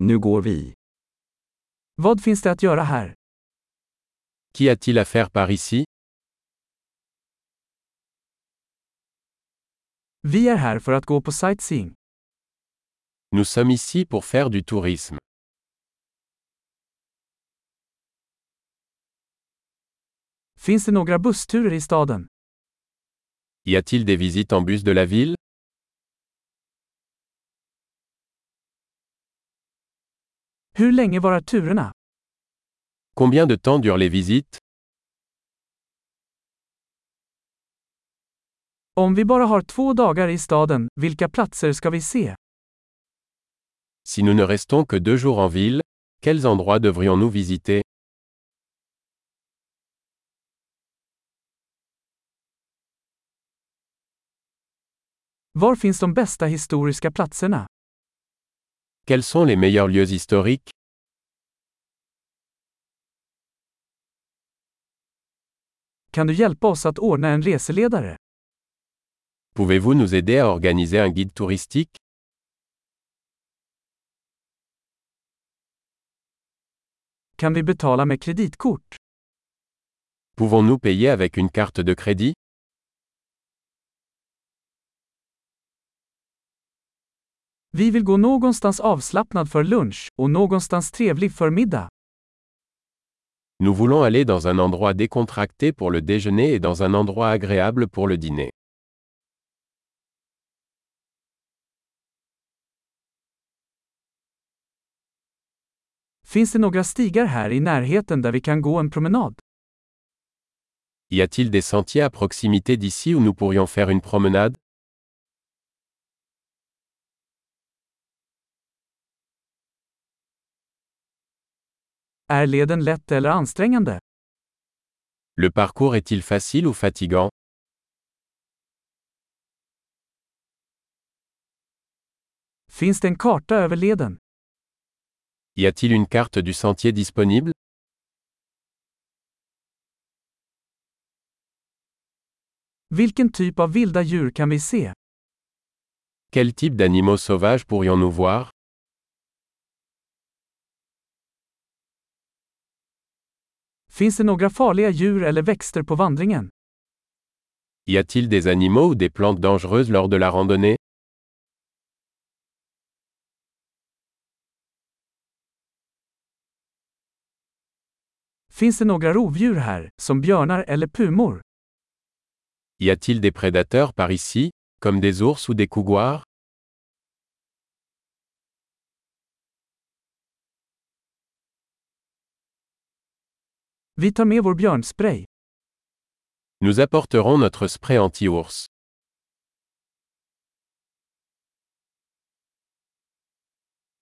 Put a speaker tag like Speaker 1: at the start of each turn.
Speaker 1: Nu går vi.
Speaker 2: Vad finns det att göra här?
Speaker 3: Qu'y a-t-il à faire par ici
Speaker 2: Vi är här för att gå på sightseeing.
Speaker 3: Nous sommes ici pour faire du tourisme.
Speaker 2: Finns det några bussturer i staden?
Speaker 3: Y a-t-il des visites en bus de la ville
Speaker 2: Hur länge varar turerna?
Speaker 3: Combien de temps durent les visites
Speaker 2: Om vi bara har två dagar i staden, vilka platser ska vi se?
Speaker 3: Si nous ne restons que deux jours en ville, quels endroits devrions-nous visiter
Speaker 2: Var finns de bästa historiska platserna?
Speaker 3: Quels sont les meilleurs lieux historiques
Speaker 2: Kan du hjälpa oss att ordna en reseledare?
Speaker 3: Pouvez-vous nous aider à organiser un guide touristique
Speaker 2: Kan vi betala med kreditkort?
Speaker 3: Pouvons-nous payer avec une carte de crédit
Speaker 2: Vi vill gå någonstans avslappnad för lunch och någonstans trevlig för middag.
Speaker 3: Nous voulons aller dans un endroit décontracté pour le déjeuner et dans un endroit agréable pour le dîner.
Speaker 2: Finns det några stigar här i närheten där vi kan gå en promenad?
Speaker 3: Y a-t-il des sentiers à proximité d'ici où nous pourrions faire une promenade
Speaker 2: Är leden lätt eller ansträngande?
Speaker 3: Le parcours est-il facile ou fatigant
Speaker 2: Finns det en karta över leden?
Speaker 3: Y a-t-il une carte du sentier disponible
Speaker 2: Vilken typ av vilda djur kan vi se?
Speaker 3: Quel type d'animaux sauvages pourrions-nous voir
Speaker 2: Finns det några farliga djur eller växter på vandringen?
Speaker 3: Y a-t-il des animaux ou des plantes dangereuses lors de la randonnée
Speaker 2: Finns det några rovdjur här, som björnar eller pumor?
Speaker 3: Y a-t-il des prédateurs par ici, comme des ours ou des couguars
Speaker 2: Vi tar med vår björnspray.
Speaker 3: Nous apporterons notre spray anti-ours.